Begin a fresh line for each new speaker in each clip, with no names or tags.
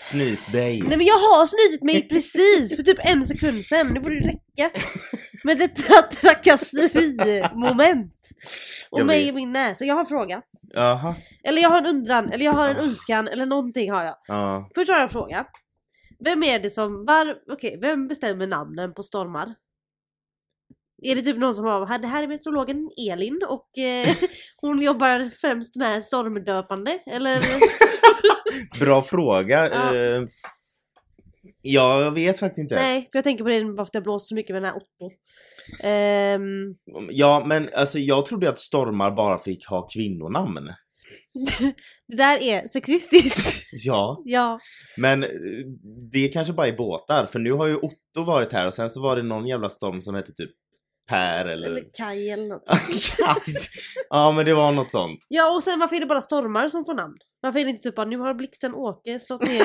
Snyt dig.
Nej men jag har snytit mig precis för typ en sekund sedan. Nu får det räcka med detta trakasserimoment. Och
Jag
mig
vet.
och min näsa. Jag har en fråga.
Jaha.
Eller jag har en undran, eller jag har en
Ah.
önskan, eller någonting har jag.
Ja.
Först har jag en fråga. Vem är det som, var, okej, vem bestämmer namnen på stormar? Är det typ någon som har, "Här, det här är meteorologen Elin och eh, hon jobbar främst med stormdöpande, eller?
Bra fråga.
Ja.
Eh, jag vet faktiskt inte.
Nej, för jag tänker på det bara för att jag blåst så mycket med den här Otto. Ehm,
Ja men alltså jag trodde att stormar bara fick ha kvinnonamn.
det där är sexistiskt.
Ja.
ja.
Men eh, det kanske bara är båtar för nu har ju Otto varit här och sen så var det någon jävla storm som hette typ Per eller...
Eller Kaj eller något.
ja men det var något sånt.
Ja och sen varför är det bara stormar som får namn? Varför är det inte typ bara nu har blixten Åke slått ner i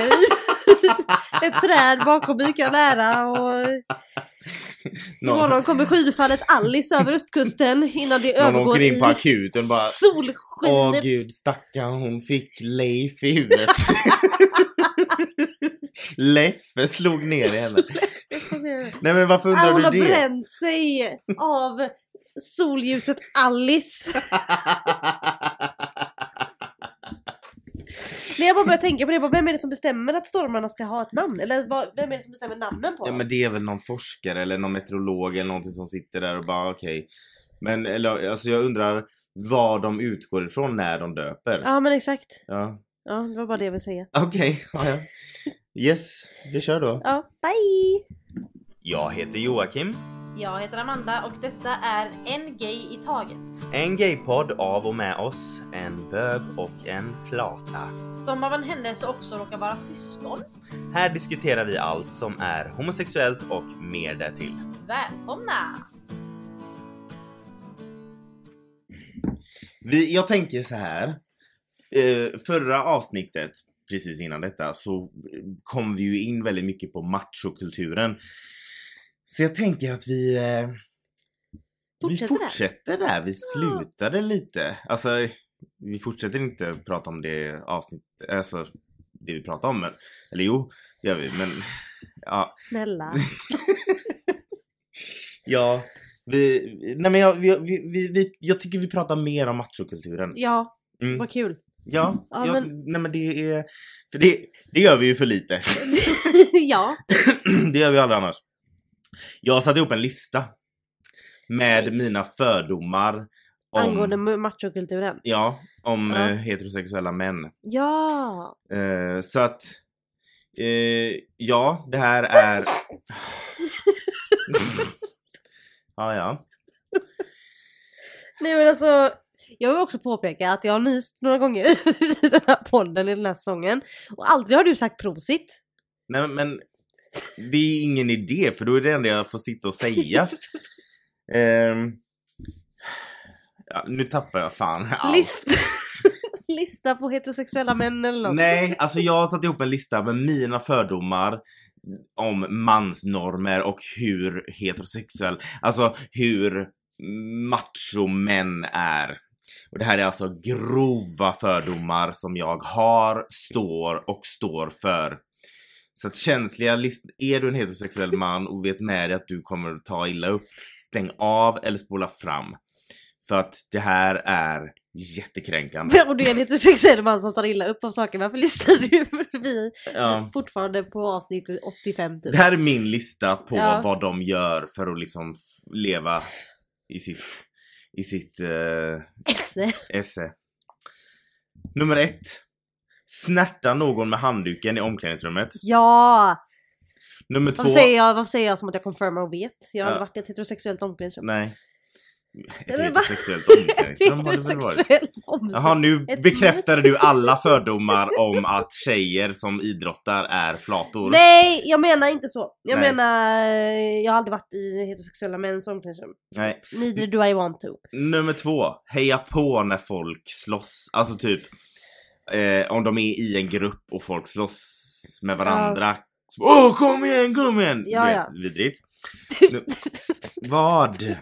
ett träd bakom Ica nära och
Någon,
imorgon kommer skyfallet Alice över östkusten innan det
någon
övergår
åker
i
in på akuten bara Åh
solskenet.
gud stackarn hon fick Leif i huvudet. Leffe slog ner henne. Nej men varför
Ah,
undrar
hon har
du det?
bränt sig av solljuset Alice. När jag bara började tänka på det, jag bara, vem är det som bestämmer att stormarna ska ha ett namn? Eller vad, vem är det som bestämmer namnen på
Ja
dem?
men det är väl någon forskare eller någon meteorolog eller någonting som sitter där och bara okej. Men eller, alltså jag undrar vad de utgår ifrån när de döper. Ja.
Ja men exakt. Ja, det var bara det jag ville säga.
Okej, ja, ja. Yes, vi kör då.
Ja, bye!
Jag heter Joakim.
Jag heter Amanda och detta är En Gay i Taget.
En gaypodd av och med oss. En bög och en flata.
Som av en händelse också råkar vara syskon.
Här diskuterar vi allt som är homosexuellt och mer därtill.
Välkomna!
Vi, jag tänker så här. Eh, förra avsnittet, precis innan detta, så kom vi ju in väldigt mycket på machokulturen. Så jag tänker att vi... Eh,
Fortsätter
vi
där.
fortsätter där. Vi slutade lite. Alltså, vi fortsätter inte prata om det avsnitt... Alltså, det vi pratar om. Men, eller jo, det gör vi. Men ja,
Snälla.
ja vi... Nej men jag, vi, vi, vi, vi, jag tycker vi pratar mer om machokulturen.
Ja,
Mm.
vad kul.
Ja,
Ja,
jag,
men-
nej men det är... För det, det gör vi ju för lite.
ja.
det gör vi aldrig annars. Jag satte ihop en lista. Med
Nej.
mina fördomar. Om,
Angående ma- machokulturen.
Ja, om
Ja.
eh, heterosexuella män.
Ja!
Eh, så att... eh, ja, det här är... ja, ja.
Nej men alltså, jag vill också påpeka att jag har nyst några gånger i den här podden, i den här säsongen. Och aldrig har du sagt prosit.
Nej men... Det är ingen idé för då är det enda jag får sitta och säga. Ehm, ja, nu tappar jag fan allt.
List... Lista på heterosexuella män eller något.
Nej, alltså jag har satt ihop en lista med mina fördomar om mansnormer och hur heterosexuell, alltså hur machomän är. Och det här är alltså grova fördomar som jag har, står och står för. Så att känsliga list- är du en heterosexuell man och vet med dig att du kommer ta illa upp, stäng av eller spola fram. För att det här är jättekränkande.
Men Om du är en heterosexuell man som tar illa upp av saker, varför listar du förbi
Ja.
fortfarande på avsnittet 85 typ?
Det här är min lista på
Ja.
vad de gör för att liksom f- leva i sitt, i sitt eh,
Esse.
esse. Nummer ett. Snärta någon med handduken i omklädningsrummet.
Ja!
Nummer två.
Varför säger, jag, varför säger jag som att jag confirmar och vet? Jag har
Ja.
aldrig varit i ett heterosexuellt omklädningsrum.
Nej. Ett
Eller va?
heterosexuellt omklädningsrum har det väl varit?
Heterosexuellt omklädningsrum.
Jaha, nu
Ett-
bekräftade du alla fördomar om att tjejer som idrottar är flator.
Nej, jag menar inte så. Jag
Nej.
menar, eh, jag har aldrig varit i heterosexuella mäns omklädningsrum.
Nej.
Neither do I want to.
Nummer två, heja på när folk slåss. Alltså typ eh, om de är i en grupp och folk slåss med varandra. Åh kom igen, kom igen!
Ja,
du
ja.
vet, vidrigt. Nu- Vad?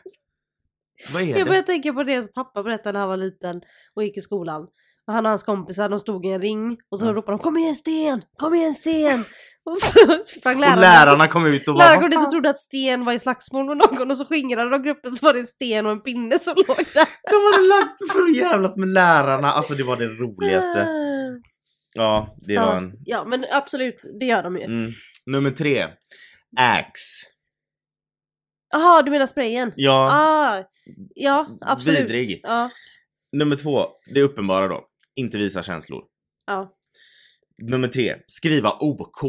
Vad är
jag
det?
börjar tänka på det som pappa berättade när han var liten och gick i skolan. Och han och hans kompisar de stod i en ring och så
Ja.
ropade de Kom igen sten! Kom igen sten! och så sprang läraren.
Och lärarna kom ut och bara
Läraren kom
"Vad
dit
fan?"
och trodde att sten var i slagsmål med någon och så skingrade de gruppen så var det en sten och en pinne som låg där.
De hade lagt för att jävlas med lärarna. Alltså det var det roligaste. Ja, det var en...
Ja men absolut, det gör de ju.
Mm. Nummer tre. Axe.
Jaha, du menar sprayen?
Ja,
Ah, ja, absolut.
Vidrig.
Ja,
nummer två. Det uppenbara då. Inte visa känslor.
ja.
Nummer tre. Skriva OK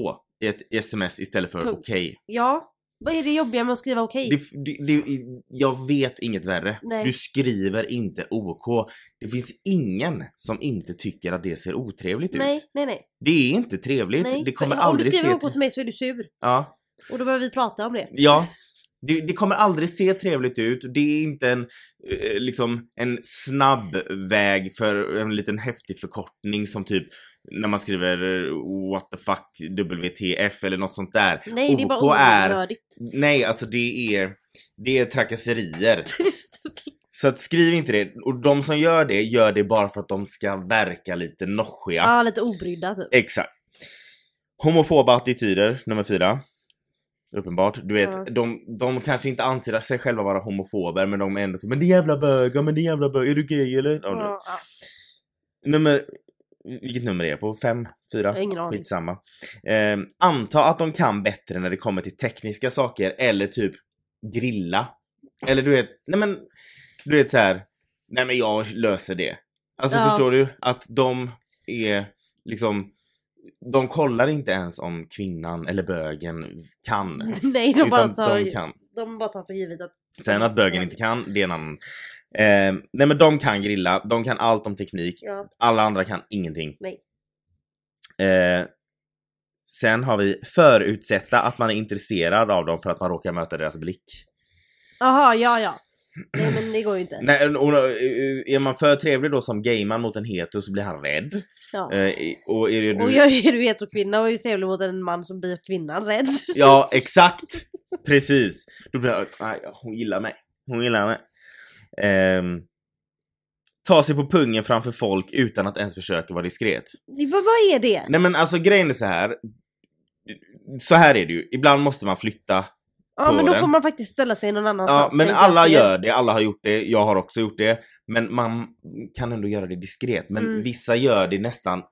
i ett sms istället för
Punkt.
okej.
ja, vad är det jobbiga med att skriva okej?
Det, det, det, jag vet inget värre.
Nej.
Du skriver inte OK. Det finns ingen som inte tycker att det ser otrevligt ut.
Nej, nej, nej.
Det är inte trevligt.
nej.
Det kommer
Om du
aldrig
skriver
se...
OK till mig så är du sur.
Ja.
Och då behöver vi prata om det.
Ja. Det, det kommer aldrig se trevligt ut. Det är inte en, eh, liksom, en snabb väg för en liten häftig förkortning som typ när man skriver eh, what the fuck WTF eller något sånt där.
Nej, det är bara
OK är-
onödigt.
Nej, alltså det är, det är trakasserier. Så att skriv inte det. Och de som gör det, gör det bara för att de ska verka lite noschiga.
Ja, lite obrydda typ.
Exakt. Homofoba attityder, nummer fyra. Uppenbart. Du vet,
Ja.
de, de kanske inte anser sig själva vara homofober men de är ändå så Men det är jävla bögar, men det är jävla bögar, är du gay eller? Ja, du-
Ja, ja.
Nummer... Vilket nummer är jag på? Fem? Fyra?
har ingen aning.
Skitsamma. Eh, anta att de kan bättre när det kommer till tekniska saker eller typ grilla. Eller du vet, nej men, du vet så här. nej men jag löser det. Alltså
Ja.
förstår du? Att de är liksom, de kollar inte ens om kvinnan eller bögen kan.
Nej, de bara,
utan
tar,
de
de,
kan.
bara tar för givet att...
Sen att bögen inte kan, det är en annan. Eh, nej men de kan grilla, de kan allt om teknik.
Ja,
Alla andra kan ingenting.
Nej.
Eh, sen har vi förutsätta att man är intresserad av dem för att man råkar möta deras blick.
Aha, ja, ja. Nej, men det går ju inte.
Nej, och, och, eh, är man för trevlig då som gayman mot en hetero så blir han rädd.
Ja.
Eh, i- och är det du...
Och jag är ju heterokvinna och är ju trevlig mot en man som blir kvinnan rädd.
Ja, exakt! Precis. Då blir jag, nej, hon gillar mig. Hon gillar mig. Ehm, ta sig på pungen framför folk utan att ens försöka vara diskret.
Det- Vad, vad är det?
Nej men alltså grejen är så här. Så här är det ju, ibland måste man flytta
ja, men
på
då
den.
får man faktiskt ställa sig någon
Ja,
annanstans.
men
tänker
alla
jag.
gör det, alla har gjort det, jag har också gjort det. Men man kan ändå göra det diskret. Men
Mm.
vissa gör det nästan...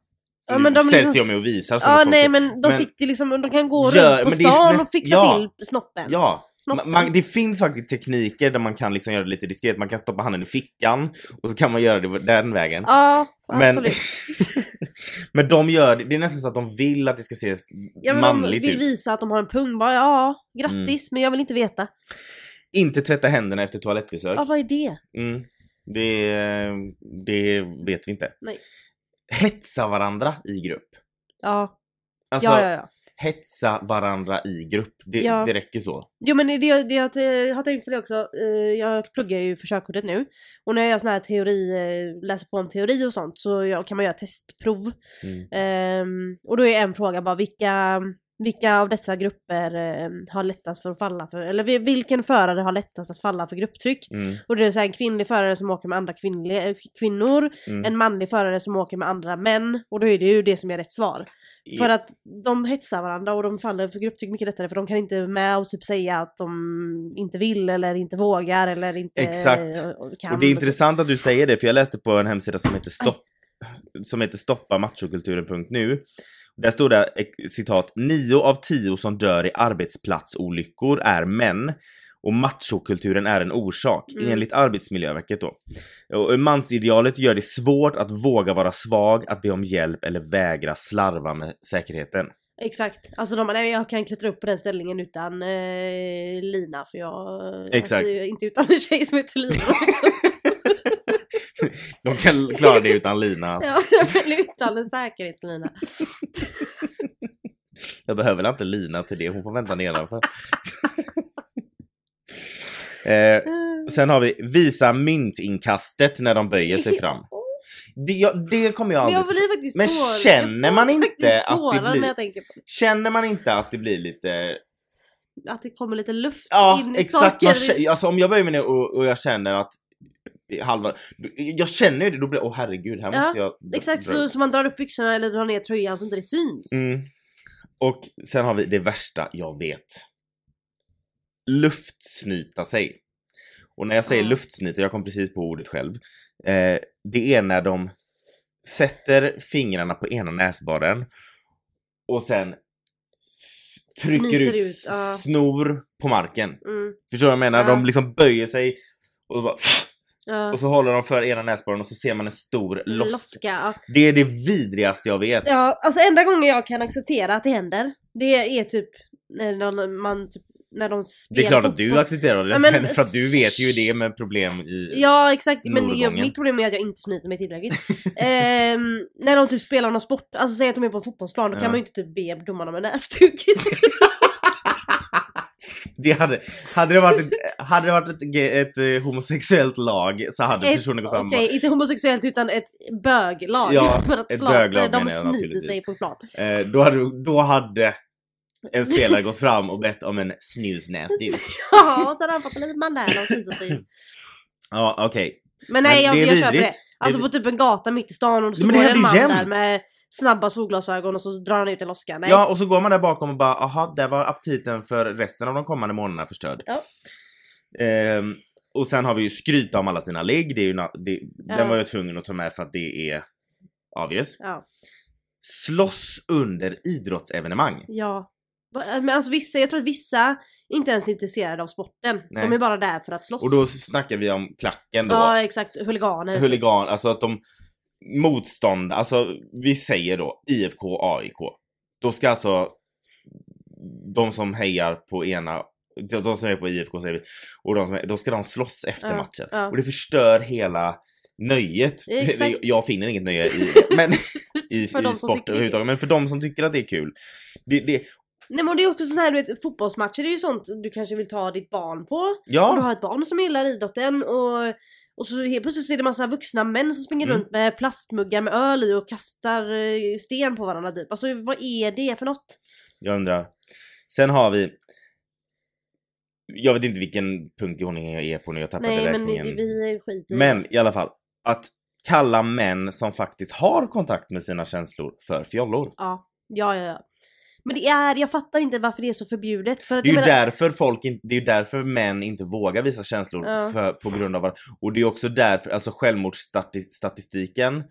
Ja, men de
nu sätter
liksom-
jag mig och visar som
Ja,
att folk
nej,
säger-
men de
Men-
sitter liksom, de kan gå
Gör-
runt på
men det är ju
stan
näst-
och fixa
ja.
till snoppen.
Ja. Ma-
Snoppen.
Man, det finns faktiskt tekniker där man kan liksom göra det lite diskret. Man kan stoppa handen i fickan och så kan man göra det den vägen.
ja
men,
absolut.
men de gör det, det är nästan så att de vill att det ska ses
Ja, men
manligt
de vill
ut.
visa att de har en pung. Bara, ja, grattis, men jag vill inte veta.
Inte tvätta händerna efter toalettbesök.
Ja, vad är det?
Mm. Det, eh, det vet vi inte.
Nej.
Hetsa varandra i grupp.
Ja,
Alltså,
ja, ja, ja.
hetsa varandra i grupp. Det,
Ja.
det räcker så.
Jo men det, det, det jag, eh, jag har tänkt på det också. Eh, Jag pluggar ju för körkortet nu. Och när jag gör sån här teori, eh, läser på om teori och sånt så jag, kan man göra testprov.
Mm.
Ehm, och då är en fråga bara vilka, vilka av dessa grupper ehm, har lättast för att falla för, eller vil- vilken förare har lättast att falla för grupptryck?
Mm,
Och det är så här, en kvinnlig förare som åker med andra kvinnliga, eh, kvinnor,
mm.
en manlig förare som åker med andra män. Och då är det ju det som är rätt svar. För att de hetsar varandra och de faller för grupptryck mycket lättare för de kan inte med och typ säga att de inte vill eller inte vågar eller inte
Exakt.
eh, kan.
Och det är intressant att du säger det, för jag läste på en hemsida som heter, stopp, som heter stoppamachokulturen.nu. Där stod det eh, citat, nio av tio som dör i arbetsplatsolyckor är män och machokulturen är en orsak,
Mm.
enligt Arbetsmiljöverket då. Och mansidealet gör det svårt att våga vara svag, att be om hjälp eller vägra slarva med säkerheten.
Exakt. Alltså de bara, nej jag kan klättra upp på den ställningen utan eh, lina för jag...
Exakt.
Alltså, inte utan en tjej som heter Lina.
De kan klara det utan lina.
ja, men utan en säkerhetslina.
Jag behöver väl inte lina till det, hon får vänta nedanför. eh,
Eh,
sen har vi visa myntinkastet när de böjer sig fram. Det, jag, det kommer jag
Men
aldrig...
jag blir faktiskt
Men
tår- jag
känner
får
man inte
faktiskt
att det
tårar
blir-
när jag tänker på
Känner man inte att det blir lite...
att det kommer lite luft
Ja,
in i
exakt. Man
saker.
kä- alltså om jag böjer mig ner och, och jag känner att i halva... Jag känner ju det, då blir jag, åh herregud, här
Ja,
måste jag...
Exakt
dra-
så, så man drar upp byxorna eller drar ner tröjan så inte det syns.
Mm. Och sen har vi det värsta jag vet. Luftsnyta sig. Och när jag säger
Ja.
luftsnyta, jag kom precis på ordet själv. Eh, det är när de sätter fingrarna på ena näsborren och sen f- trycker
Fnyser
ut,
ut, ja.
snor på marken.
Mm.
Förstår du vad jag menar?
Ja.
De liksom böjer sig och, bara,
Ja.
och så håller de för ena näsborren och så ser man en stor loss.
Loska. Ja.
Det är det vidrigaste jag vet.
ja, alltså enda gången jag kan acceptera att det händer, det är typ när någon, man typ, när de
Det
spelar
är klart att
fotboll.
du accepterar det
Ja, men-
sen för att du vet ju det med problem i
Ja exakt, men jag,
snorgången.
mitt problem är att jag inte snyter mig tillräckligt. Ehm, när de typ spelar någon sport, alltså säg att de är på en fotbollsplan, då
Ja.
kan man ju inte typ be domaren om en näsduk.
det hade, hade det varit, ett, hade det varit ett, ge- ett, eh, homosexuellt lag så hade
Ett-
personen gått fram och
Okej, inte homosexuellt utan ett böglag.
Ja,
för att
ett
flator,
böglag
de
menar jag
snyter
naturligtvis.
sig på plan.
bara, eh, då, hade, då hade en spelare gått fram och bett om en snusnäsduk.
Ja, så hade han fått en liten mandala och snyter sig.
Ja okej.
Men
Men
nej, jag,
det är
jag köper det.
vidrigt.
Alltså
Det
på typ en gata mitt i stan och så
Ja, men det
går en man
händer ju jämt.
där med snabba solglasögon och så drar han ut en loska. Nej.
Ja och så går man där bakom och bara aha där var aptiten för resten av de kommande månaderna förstörd.
Ja.
Ehm, och sen har vi ju skryta om alla sina ligg, det är ju na- det,
Ja.
den var jag tvungen att ta med för att det är obvious.
Ja.
slåss under idrottsevenemang.
ja. Va- Men alltså vissa, jag tror att vissa inte ens är intresserade av sporten.
Nej.
De är bara där för att slåss.
Och då snackar vi om klacken då.
Ja exakt, huliganer.
Huligan, alltså att de motstånd, alltså vi säger då IFK, AIK. Då ska alltså de som hejar på ena, de som hejar på IFK säger vi, och de som hejar, då ska de slåss efter
Ja,
matchen.
ja.
Och det förstör hela nöjet.
Exakt.
Jag finner inget nöje i, men, i, i
För de som
sport
tycker det är
överhuvudtaget, men för de som tycker att det är kul. Det, det,
Nej men det är också sån här du vet, fotbollsmatcher det är ju sånt du kanske vill ta ditt barn på.
ja.
Och du har ett barn som gillar idrotten och, och så helt plötsligt så är det massa vuxna män som springer
Mm.
runt med plastmuggar med öl i och kastar eh, sten på varandra typ. Alltså vad är det för något?
Jag undrar. Sen har vi... Jag vet inte vilken punkt i ordningen jag är på nu, jag tappade
Nej men
räkningen.
det, vi skiter i det.
Men i alla fall, att kalla män som faktiskt har kontakt med sina känslor för fjollor.
Ja, ja, ja. ja. Men det är, jag fattar inte varför det är så förbjudet. För att
Det är
jag
ju
menar,
därför folk inte, det är ju därför män inte vågar visa känslor
Ja.
för, på grund av varandra. Och det är också därför, alltså självmordsstatistiken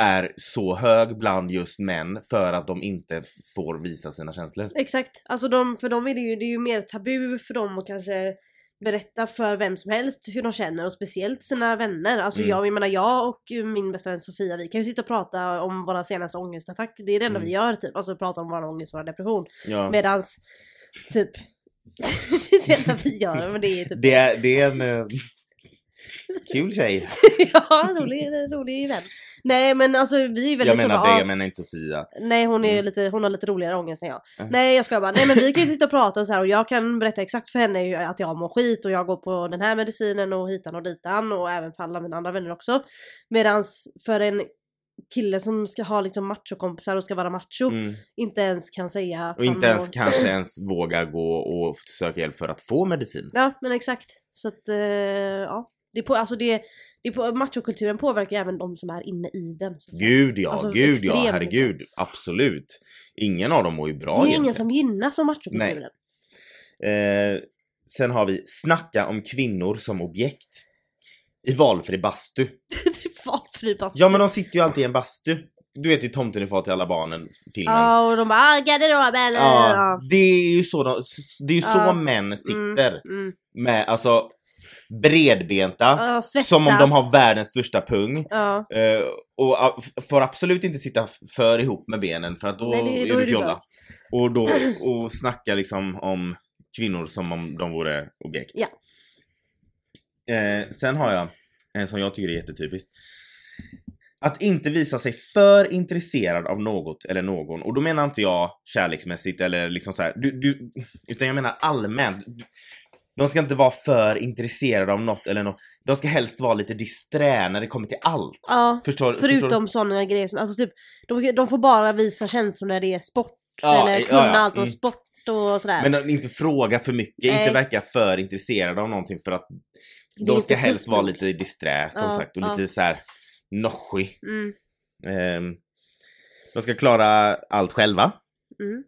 är så hög bland just män för att de inte får visa sina känslor.
Exakt, alltså de, för dem är det ju, det är ju mer tabu för dem att kanske berätta för vem som helst hur de känner och speciellt sina vänner. Alltså
Mm.
jag, jag menar jag och min bästa vän Sofia vi kan ju sitta och prata om våra senaste ångestattack. Det är det enda
Mm.
vi gör typ, alltså prata om vår ångest och vår depression.
Ja.
Medans typ det är det enda vi gör men det är typ
Det är, det är en eh, kul tjej.
ja, rolig, rolig vän. Nej men alltså vi är väldigt
Jag
så
menar
bara,
dig,
"Ah,
jag menar inte Sofia.
Nej hon, är
Mm.
lite, hon har lite roligare ångest än jag.
Mm.
Nej jag skojar bara. Nej men vi kan ju sitta och prata och så här och jag kan berätta exakt för henne ju att jag mår skit och jag går på den här medicinen och hitan och ditan och även för alla mina andra vänner också. Medans för en kille som ska ha liksom machokompisar och ska vara macho
Mm.
inte ens kan säga att
Och
han
inte ens
mår-
kanske ens vågar gå och söka hjälp för att få medicin.
Ja men exakt. Så att eh, ja. Det är på, alltså det, det är på, machokulturen påverkar ju även de som är inne i den. så att säga.
Gud ja,
Alltså,
gud ja,
extremt mycket.
herregud. Absolut. Ingen av dem mår ju bra
det är ju
egentligen.
ingen som gynnas av machokulturen.
Eh, sen har vi snacka om kvinnor som objekt. I valfri bastu.
Valfri bastu.
Ja men de sitter ju alltid i en bastu. Du vet i Tomten är far till alla barnen filmen.
Ja och de bara "Ah, garderoben.
Ja,
Ja.
det är ju så, de, det är ju så
Ja.
män sitter.
Mm.
Med alltså bredbenta.
Ja, svettas.
Som om de har världens största pung.
Ja.
Eh, och a- f- får absolut inte sitta f- för ihop med benen för att då
Nej, det- då
är
är
du
du
fjolla.
bög.
Och då och snacka liksom om kvinnor som om de vore objekt.
Ja.
Eh, sen har jag en som jag tycker är jättetypisk. Att inte visa sig för intresserad av något eller någon. Och då menar inte jag kärleksmässigt eller liksom så här. Du, du, utan jag menar allmänt. Du- De ska inte vara för intresserade av något eller något. De ska helst vara lite disträ när det kommer till allt.
ja.
Förstår, förstår du?
Förutom sådana grejer som, alltså typ, de, de får bara visa känslor när det är sport.
Ja,
eller
ja,
kunna
ja.
allt om
Mm.
sport och sådär.
Men att inte fråga för mycket,
Nej.
inte verka för intresserad av någonting för att
Det är
De ska
inte
helst
tufft
vara
nog.
lite disträ som
Ja,
sagt och
ja.
lite så här noschig.
Mm,
Ehm, de ska klara allt själva.
mm.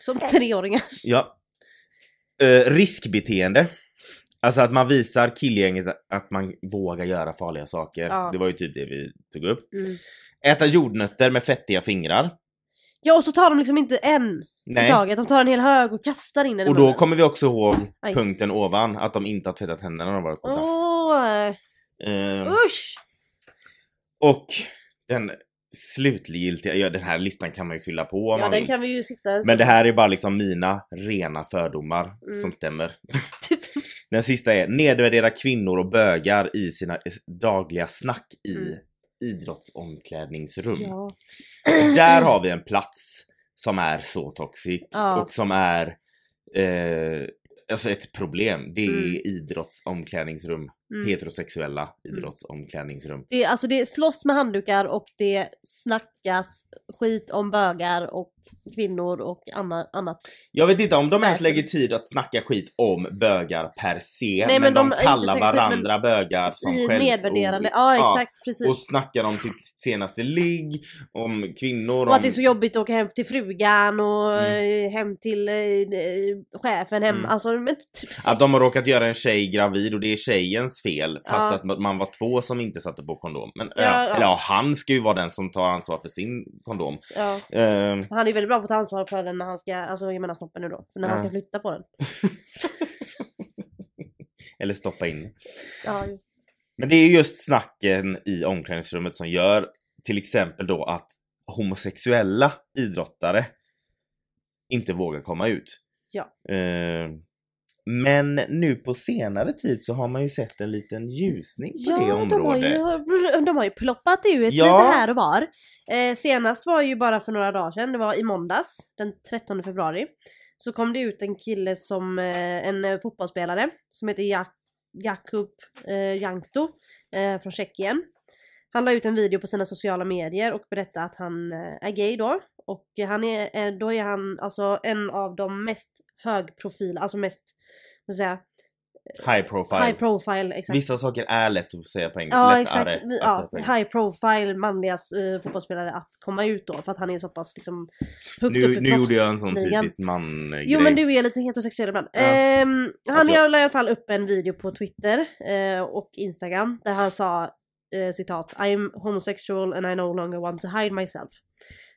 Som treåringar.
Ja. Eh, riskbeteende. Alltså att man visar killgänget att man vågar göra farliga saker.
Ja.
Det var ju typ det vi tog upp.
Mm.
Äta jordnötter med fettiga fingrar.
Ja och så tar de liksom inte en i
Nej.
taget, de tar en hel hög och kastar in den i
Och då
munnen.
kommer vi också ihåg
Aj.
punkten ovan, att de inte har tvättat händerna när de varit på dass.
Åh, eh,
Ehm,
usch!
och den slutgiltiga, ja den här listan kan man ju fylla på om
Ja
man
den
vill.
kan vi ju sitta en
Men
stund-
det här är bara liksom mina rena fördomar
Mm. Typ.
som stämmer. Den sista är nedvärdera kvinnor och bögar i sina dagliga snack i
Mm.
idrottsomklädningsrum.
ja.
Där har vi en plats som är så toxic
Ja.
och som är eh, alltså ett problem. Det är
Mm.
idrottsomklädningsrum,
Mm.
heterosexuella idrottsomklädningsrum.
Det, är- alltså det slåss med handdukar och det snackas skit om bögar och kvinnor och anna, annat.
Jag vet inte om de ens
Alltså-
lägger tid att snacka skit om bögar per se,
men
men,
de
de,
är inte
kallar
säkert, men-
varandra bögar som
I
skällsord.
nedvärderande, ja exakt precis.
och snackar om sitt senaste ligg, om kvinnor,
Och
om...
att det är så jobbigt att åka hem till frugan och eh, hem till eh, eh, chefen hem.
Mm.
Alltså, men typ,
Att de har råkat göra en tjej gravid och det är tjejens fel fast
Ja.
att ma- man var två som inte satte på kondom. Men,
Ja,
ja,
ja.
Eller ja, han ska ju vara den som tar ansvar för sin kondom.
ja.
Ehm,
Han är ju väldigt bra på att ta ansvar för den när han ska, alltså jag menar snoppen nu då, när han
Ja.
ska flytta på den.
eller stoppa in.
Ja, ju.
Men det är just snacken i omklädningsrummet som gör till exempel då att homosexuella idrottare inte vågar komma ut.
Ja.
Ehm, men nu på senare tid så har man ju sett en liten ljusning på det
ja de, har
området.
ju, de har ju ploppat ut
Ja.
lite här och var. Eh, senast var ju bara för några dagar sedan, det var i måndags den 13 februari. Så kom det ut en kille som, eh, en eh, fotbollsspelare som heter Jak- Jakub eh, Jankto eh, från Tjeckien. Han la ut en video på sina sociala medier och berättade att han eh, är gay då. Och eh, han är, eh, då är han alltså en av de mest högprofil, alltså mest, vad ska jag säga,
High profile.
high profile, exakt.
Vissa saker är lätt att säga på engelska.
Ja
typ lättare
exakt, Vi-
att säga
ja,
på engelska.
high profile manliga eh, fotbollsspelare att komma ut då för att han är så pass liksom högt upp
Nu,
i
nu gjorde jag en sån
proffsligan.
typisk man
Jo men du är lite heterosexuell ibland.
Ja.
Ehm, han
tror-
la i alla fall upp en video på Twitter eh, och Instagram där han sa eh, citat I'm homosexual and I no longer want to hide myself.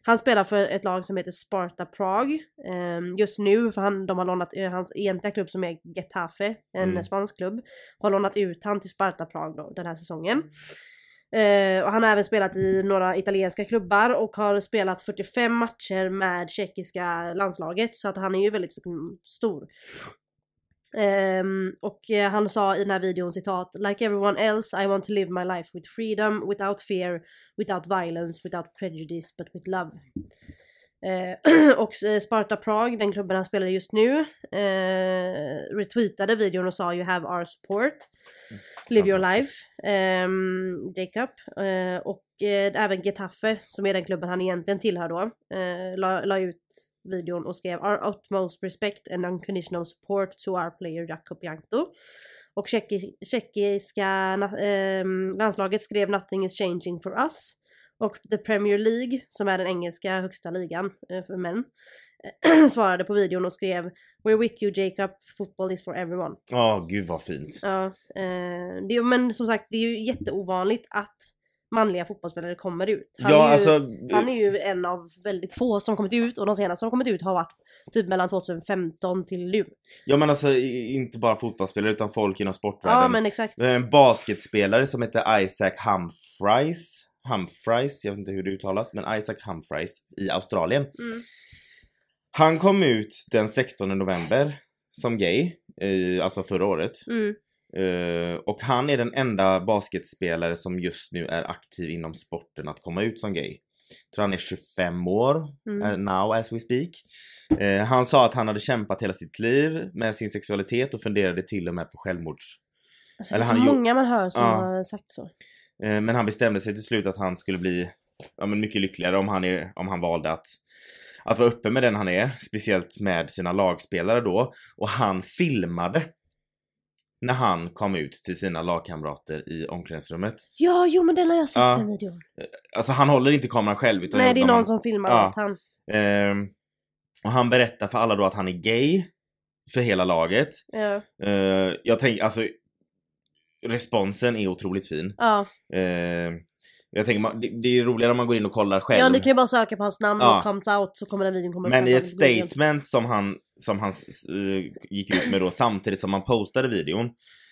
Han spelar för ett lag som heter Sparta Prag ehm, just nu för han, de har lånat, eh, hans egentliga klubb som är Getafe, en
Mm.
spansk klubb, har lånat ut han till Sparta Prag då, den här säsongen. Eh, och han har även spelat i några italienska klubbar och har spelat 45 matcher med tjeckiska landslaget så att han är ju väldigt mm, stor. Ehm, och eh, han sa i den här videon citat Like everyone else I want to live my life with freedom, without fear, without violence, without prejudice but with love. Eh, och eh, Sparta Prag, den klubben han spelar i just nu, eh, retweetade videon och sa You have our support. Live your life, ehm, Jacob. Eh, och eh, även Getafe, som är den klubben han egentligen tillhör då, eh, la, la ut videon och skrev Our utmost respect and unconditional support to our player Jakob Jankto. Och tjecki, tjeckiska na, ehm, landslaget skrev Nothing is changing for us. Och The Premier League, som är den engelska högsta ligan eh, för män, eh, svarade på videon och skrev We're with you Jacob, football is for everyone.
Ja, gud vad fint.
Ja, eh, det, men som sagt det är ju jätteovanligt att manliga fotbollsspelare kommer ut. Han,
ja,
är ju,
alltså.
han är ju en av väldigt få som kommit ut och de senaste som kommit ut har varit typ mellan 2015 till nu.
Ja, men alltså i- inte bara fotbollsspelare utan folk inom sportvärlden.
Ja men exakt.
Det är En basketspelare som heter Isaac Humphries. Humphries, jag vet inte hur det uttalas, men Isaac Humphries i Australien.
Mm.
Han kom ut den 16 november som gay, eh, alltså förra året.
Mm.
Eh, och han är den enda basketspelare som just nu är aktiv inom sporten att komma ut som gay. Tror han är 25 år
Mm.
eh, now as we speak. Eh, han sa att han hade kämpat hela sitt liv med sin sexualitet och funderade till och med på självmords...
Alltså, det är
eller
så
han gjorde-
många man hör som
Ja.
har sagt så.
Eh, men han bestämde sig till slut att han skulle bli ja, men mycket lyckligare om han, är, om han valde att, att vara öppen med den han är. Speciellt med sina lagspelare då. Och han filmade när han kom ut till sina lagkamrater i omklädningsrummet.
Ja, jo men den har jag sett
Ja.
den videon.
Alltså han håller inte kameran själv utan
Nej, det är
de-
någon som filmar
Ja.
åt han.
Ehm, och han berättar för alla då att han är gay. För hela laget.
Ja.
Eh, jag tänker, alltså responsen är otroligt fin.
Ja.
Eh, jag tänker, man- det, det är roligare om man går in och kollar själv.
ja, ni kan ju bara söka på hans namn
Ja.
och comes out så kommer den videon komma upp.
Men i
på
ett
Google.
statement som han, som han s- eh, gick ut med då samtidigt som han postade videon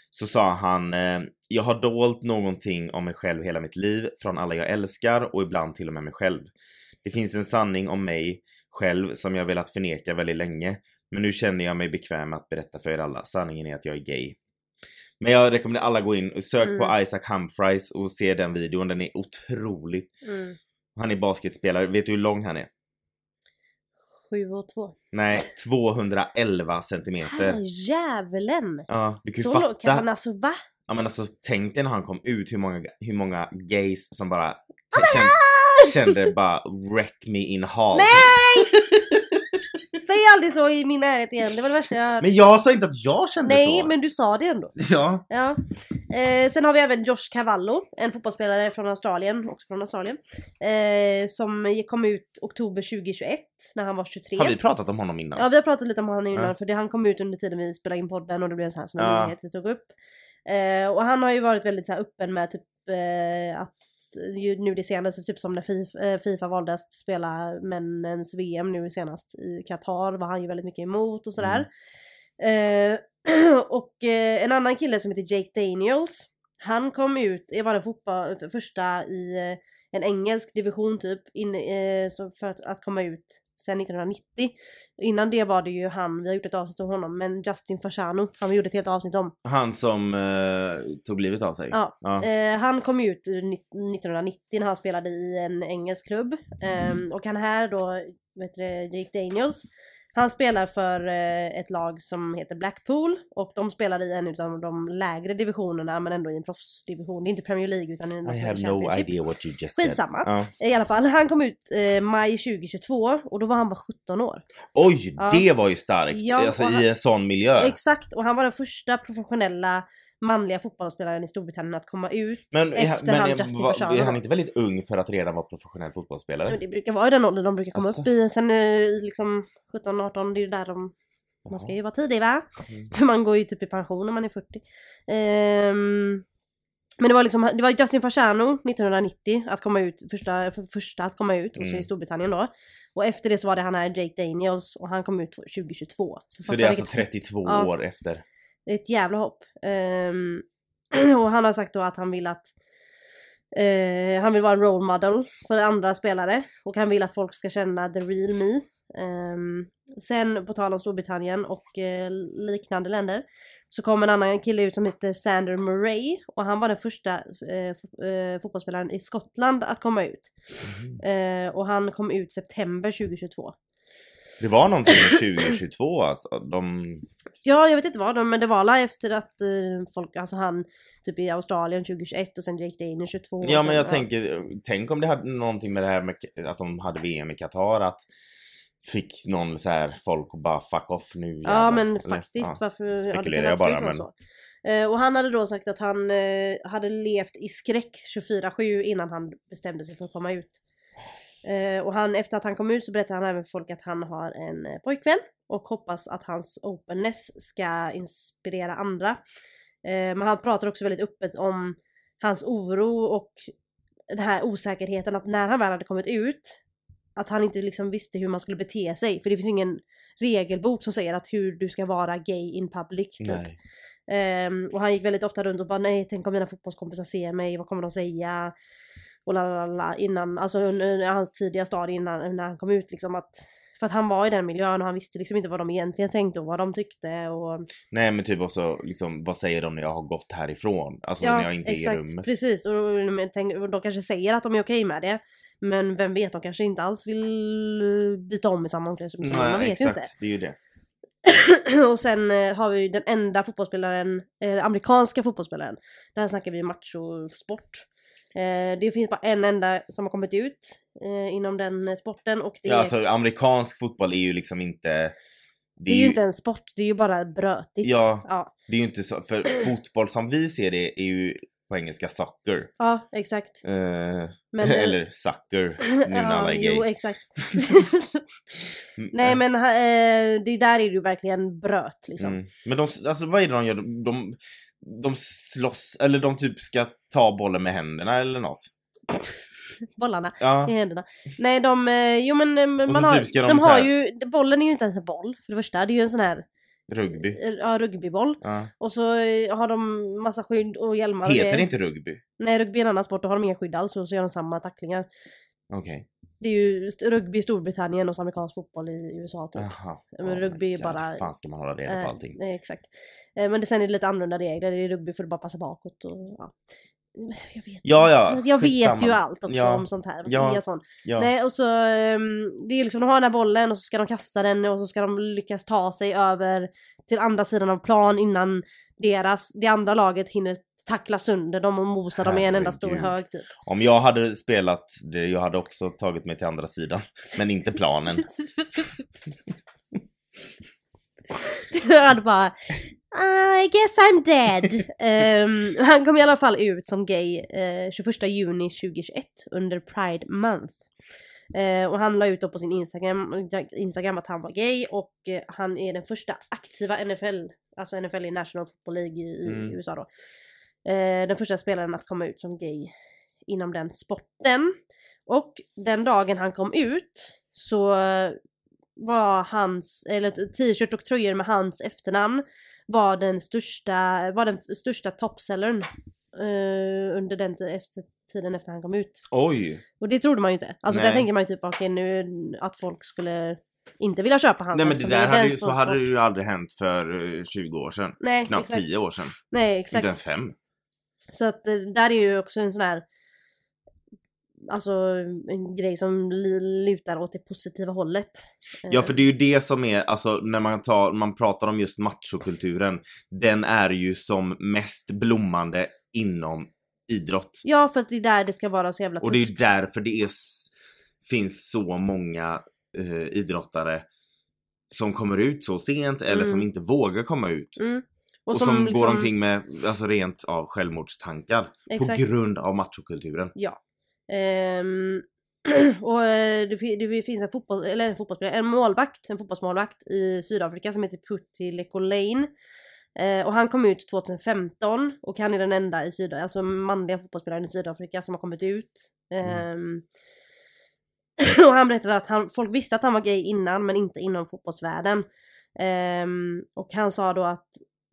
så sa han eh, “Jag har dolt någonting om mig själv hela mitt liv, från alla jag älskar och ibland till och med mig själv. Det finns en sanning om mig själv som jag velat förneka väldigt länge, men nu känner jag mig bekväm att berätta för er alla. Sanningen är att jag är gay.” Men jag rekommenderar alla att gå in och sök på
Mm.
Isaac Humphries och se den videon, den är otroligt.
Mm.
Han är basketspelare, vet du hur lång han är?
Sju och två.
Nej, 211 centimeter.
Herrejävulen!
Ja, du kan ju
Så långt kan
fatta.
man alltså va?
Ja men alltså tänk dig när han kom ut hur många, hur många gays som bara
Oh my
kände,
god!
kände bara wreck me in hall.
Nej! Säg aldrig så i min närhet igen, det var det värsta jag hört.
Men jag sa inte att jag kände
Nej,
så.
men du sa det ändå.
Ja.
Ja. Eh, sen har vi även Josh Cavallo, en fotbollsspelare från Australien, också från Australien. Eh, som kom ut oktober 2021 när han var 23.
Har vi pratat om honom innan?
Ja, vi har pratat lite om honom innan
Ja.
för det, han kom ut under tiden vi spelade in podden och det blev så här som en
Ja.
nyhet vi tog upp. Eh, och han har ju varit väldigt så här öppen med typ eh, att ju, nu det senaste, typ som när FIFA, eh, FIFA valde att spela männens VM nu senast i Qatar var han ju väldigt mycket emot och sådär. Eh, och eh, en annan kille som heter Jake Daniels, han kom ut, jag var den fotboll, första i eh, en engelsk division typ, in, eh, så för att, att komma ut sen 1990. Innan det var det ju han, vi har gjort ett avsnitt om honom, men Justin Fasciano, han vi gjorde ett helt avsnitt om.
Han som eh, tog livet av sig?
Ja.
ja.
Eh, han kom ju ut ur nitt- 1990 när han spelade i en engelsk klubb.
Mm.
Ehm, och han här då, vet du, Jake Daniels, han spelar för eh, ett lag som heter Blackpool och de spelar i en av de lägre divisionerna men ändå i en proffsdivision. Det är inte Premier League utan i en
I have no idea what you just said.
Skitsamma.
Ja.
I alla fall, han kom ut eh, maj 2022 och då var han bara 17 år.
Oj,
Ja.
det var ju starkt!
Ja,
alltså
och
i
han-
en sån miljö.
Exakt, och han var den första professionella manliga fotbollsspelaren i Storbritannien att komma ut.
Men, är han-
efter han
men
Justin
var,
Fasciano
är han
då.
inte väldigt ung för att redan vara professionell fotbollsspelare?
Men det brukar vara i den åldern de brukar komma
Alltså.
upp i. Sen eh, liksom 17-18, det är ju där de... Man ska ju vara tidig va?
Mm.
För man går ju typ i pension när man är 40. Ehm, men det var liksom, det var Justin Fasciano 1990 att komma ut, första, för första att komma ut och så
Mm.
i Storbritannien då. Och efter det så var det han här Jake Daniels och han kom ut 2022.
Så
fatta
det är alltså
vilket-
32
Ja.
år efter.
det är ett jävla hopp. Ehm, och han har sagt då att han vill att eh, han vill vara en role model för andra spelare och han vill att folk ska känna the real me. Ehm, sen på tal om Storbritannien och eh, liknande länder så kom en annan kille ut som heter Sander Murray och han var den första eh, fo- eh, fotbollsspelaren i Skottland att komma ut. Eh, och han kom ut september 2022.
Det var någonting 2022 alltså. De...
Ja, jag vet inte vad, de- men det var alla efter att eh, folk, alltså han typ i Australien 2021 och sen Jake Daniel 22. och
Ja
sen-
men jag tänker, tänk om det hade någonting med det här med att de hade VM i Qatar att fick någon så här folk och bara fuck off nu
Ja,
jävlar."
men
Eller,
faktiskt
ja.
varför... ja, det kan
Spekulerar jag bara,
absolut vara
men-
så. Eh, och han hade då sagt att han eh, hade levt i skräck 24-7 innan han bestämde sig för att komma ut. Eh, och han, efter att han kom ut så berättade han även för folk att han har en eh, pojkvän och hoppas att hans openness ska inspirera andra. Eh, men han pratar också väldigt öppet om hans oro och den här osäkerheten att när han väl hade kommit ut att han inte liksom visste hur man skulle bete sig. För det finns ingen regelbok som säger att hur du ska vara gay in public. Typ.
Nej.
Ehm, och han gick väldigt ofta runt och bara nej, tänk om mina fotbollskompisar ser mig, vad kommer de säga? Och la, la, la, la, innan, alltså under hans tidiga stadie innan när han kom ut liksom att för att han var i den miljön och han visste liksom inte vad de egentligen tänkte och vad de tyckte och
Nej men typ också liksom, vad säger de när jag har gått härifrån? Alltså när jag inte är i rummet.
precis. Och de, tänk- och de kanske säger att de är okej med det. Men vem vet, de kanske inte alls vill eh, byta om i samma omklädningsrum. så Man vet ju
exakt,
inte.
det är ju det.
och sen eh, har vi ju den enda fotbollsspelaren, eh, amerikanska fotbollsspelaren. Där snackar vi machosport. Eh, det finns bara en enda som har kommit ut eh, inom den eh, sporten och det
alltså, Ja, alltså amerikansk fotboll är ju liksom inte
Det är ju inte en sport, det är ju bara brötigt.
Ja.
Ja,
det är ju inte så, för fotboll som vi ser det är ju på engelska soccer.
ja exakt.
Eh,
Men, eh,
eller sucker, nu när alla är
ja, Jo,
gay.
exakt.
Mm,
Nej men ha- eh, det där är det ju verkligen bröt liksom.
Mm. Men de, alltså vad är det de gör? De, de, de slåss, eller de typ ska ta bollen med händerna eller något.
Bollarna i
Ja.
händerna. Nej de, eh, jo men eh,
så
man har,
typ ska de
de
så
har
här-
ju, bollen är ju inte ens en boll för det första. Det är ju en sån här
Rugby.
eh, ja, rugbyboll.
Ja.
Och så eh, har de massa skydd och hjälmar och
Heter
grejer.
det inte rugby?
Nej rugby är en annan sport, då har de inga skydd alls och så gör de samma tacklingar.
Okej.
Det är ju st- rugby i Storbritannien och så amerikansk fotboll i USA typ.
Jaha. Oh
Men rugby är
God,
bara-
fan ska man hålla reda
Eh,
på allting?
Nej, exakt. Eh, men det, sen är det lite annorlunda regler. I rugby får du bara passa bakåt och ja. Jag vet,
Ja, ja,
jag vet ju
skitsamma.
allt också
Ja.
om sånt här.
Ja.
Ja. Sån.
Ja.
Nej, och så, ehm, det är liksom, de har den här bollen och så ska de kasta den och så ska de lyckas ta sig över till andra sidan av plan innan deras, det andra laget hinner tackla sönder dem och mosa dem i en enda stor
Herregud.
hög typ.
Om jag hade spelat det, jag hade också tagit mig till andra sidan. Men inte planen.
Du hade bara "Ah, I guess I'm dead. Ehm, han kom i alla fall ut som gay eh, 21 juni 2021 under Pride Month. Eh, och han la ut då på sin Instagram, Instagram att han var gay och eh, han är den första aktiva NFL, alltså NFL i National Football League i, i
Mm.
USA då. Eh, den första spelaren att komma ut som gay inom den sporten. Och den dagen han kom ut så var hans, eller t- t-shirt och tröjor med hans efternamn var den största, var den största toppsäljaren eh, under den t- efter, tiden efter han kom ut.
Oj!
Och det trodde man ju inte. Alltså där
Nej.
tänker man ju typ okej nu att folk skulle inte vilja köpa hans
Nej men det
eftersom
där
var
hade
den
ju, så
sport-
hade det ju aldrig hänt för eh, 20 år sedan.
Nej,
Knappt
exakt.
10 år sedan.
Nej
Inte
exakt.
ens 5.
Så att eh, där är ju också en sån här Alltså en grej som li- lutar åt det positiva hållet. Eh,
Ja för det är ju det som är, alltså när man, tar, man pratar om just machokulturen, den är ju som mest blommande inom idrott.
Eh, Ja för att det är där det ska vara så jävla
Och det är ju därför det är, s- finns så många eh, idrottare som kommer ut så sent eller som
Mm.
inte vågar komma ut.
Mm. liksom-
Och, som, går omkring med, alltså rent av självmordstankar.
Exakt.
På grund av machokulturen.
Ja. Ehm, och eh, det, fi- det finns en, fotboll, eller en fotbollsspelare, en målvakt, en fotbollsmålvakt i Sydafrika som heter Putti Lekolain. Eh, och han kom ut 2015 och han är den enda i Sydafrika, alltså manliga fotbollsspelaren i Sydafrika som har kommit ut. Ehm, och han berättade att han, folk visste att han var gay innan men inte inom fotbollsvärlden. Ehm, och han sa då att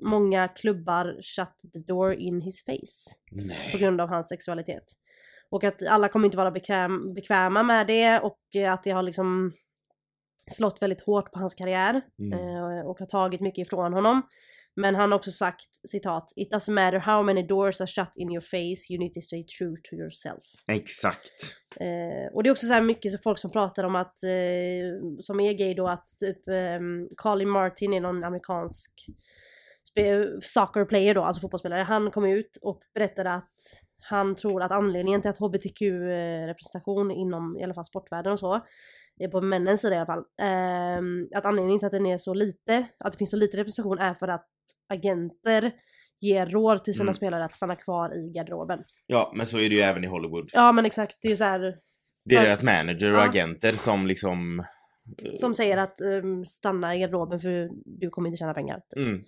många klubbar shut the door in his face på
Nej.
grund av hans sexualitet. Och att alla kommer inte vara bekväm, bekväma med det och eh, att det har liksom slått väldigt hårt på hans karriär
Mm.
eh, och har tagit mycket ifrån honom. Men han har också sagt citat It doesn't matter how many doors are shut in your face, you need to stay true to yourself.
Exakt.
Eh, och det är också så här mycket så folk som pratar om att, eh, som är gay då, att typ ehm, Colin Martin är någon amerikansk spe- soccer player då, alltså fotbollsspelare. Han kom ut och berättade att han tror att anledningen till att hbtq-representation inom i alla fall sportvärlden och så, eh, på männens sida i alla fall, ehm, att anledningen till att den är så lite, att det finns så lite representation är för att agenter ger råd till sina
Mm.
spelare att stanna kvar i garderoben.
Ja men så är det ju även i Hollywood.
Ja men exakt, det är ju så här
Det är
Ja.
deras manager och
Ja.
agenter som liksom... eh,
Som säger att ehm, stanna i garderoben för du kommer inte tjäna pengar.
Mm.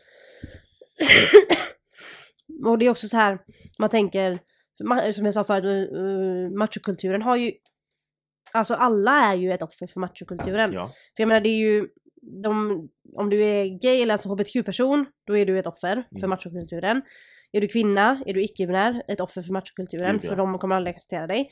Och det är också så här, man tänker, ma- som jag sa förut, eh, eh, machokulturen har ju, alltså alla är ju ett offer för machokulturen.
Ja.
För jag menar det är ju, de, om du är gay eller alltså hbtq-person, då är du ett offer för
Mm.
machokulturen. Är du kvinna, är du icke-binär, ett offer för machokulturen,
Gud, ja.
för de kommer aldrig acceptera dig.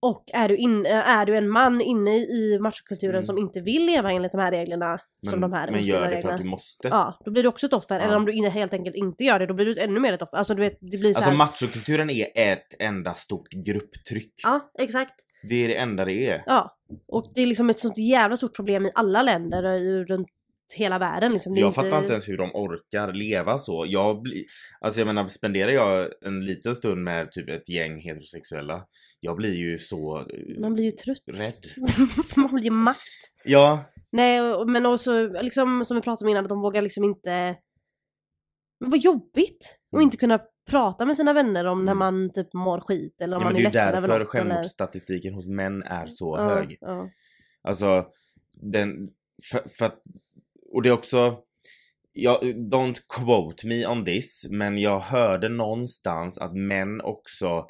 Och är du, in, eh, är du en man inne i machokulturen
Mm.
som inte vill leva enligt de här reglerna, som de här
men gör
oskrivna
det för
reglerna.
att du måste.
Ja, då blir du också ett offer. Eller
Ja.
om du in- helt enkelt inte gör det, då blir du ännu mer ett offer. Alltså du vet, det blir så
Alltså
här,
machokulturen är ett enda stort grupptryck.
Ja, exakt.
Det är det enda det är.
Ja. Och det är liksom ett sånt jävla stort problem i alla länder och i- runt hela världen liksom. Det är
Jag fattar inte ens hur de orkar leva så. Jag blir, alltså jag menar spenderar jag en liten stund med typ ett gäng heterosexuella, jag blir ju så eh,
Man blir ju trött.
rädd.
man blir matt.
Ja,
Nej, och- men också liksom som vi pratade om innan, att de vågar liksom inte... Men vad jobbigt! Och
Mm.
inte kunna prata med sina vänner om när
Mm.
man typ mår skit eller om
Ja, men
man
det
är
är ju
ledsen över
därför
något. Eller...
självmordsstatistiken hos män är så
Ja,
hög.
ja.
Alltså, den... För, för att, och det är också... Jag, don't quote me on this, men jag hörde någonstans att män också,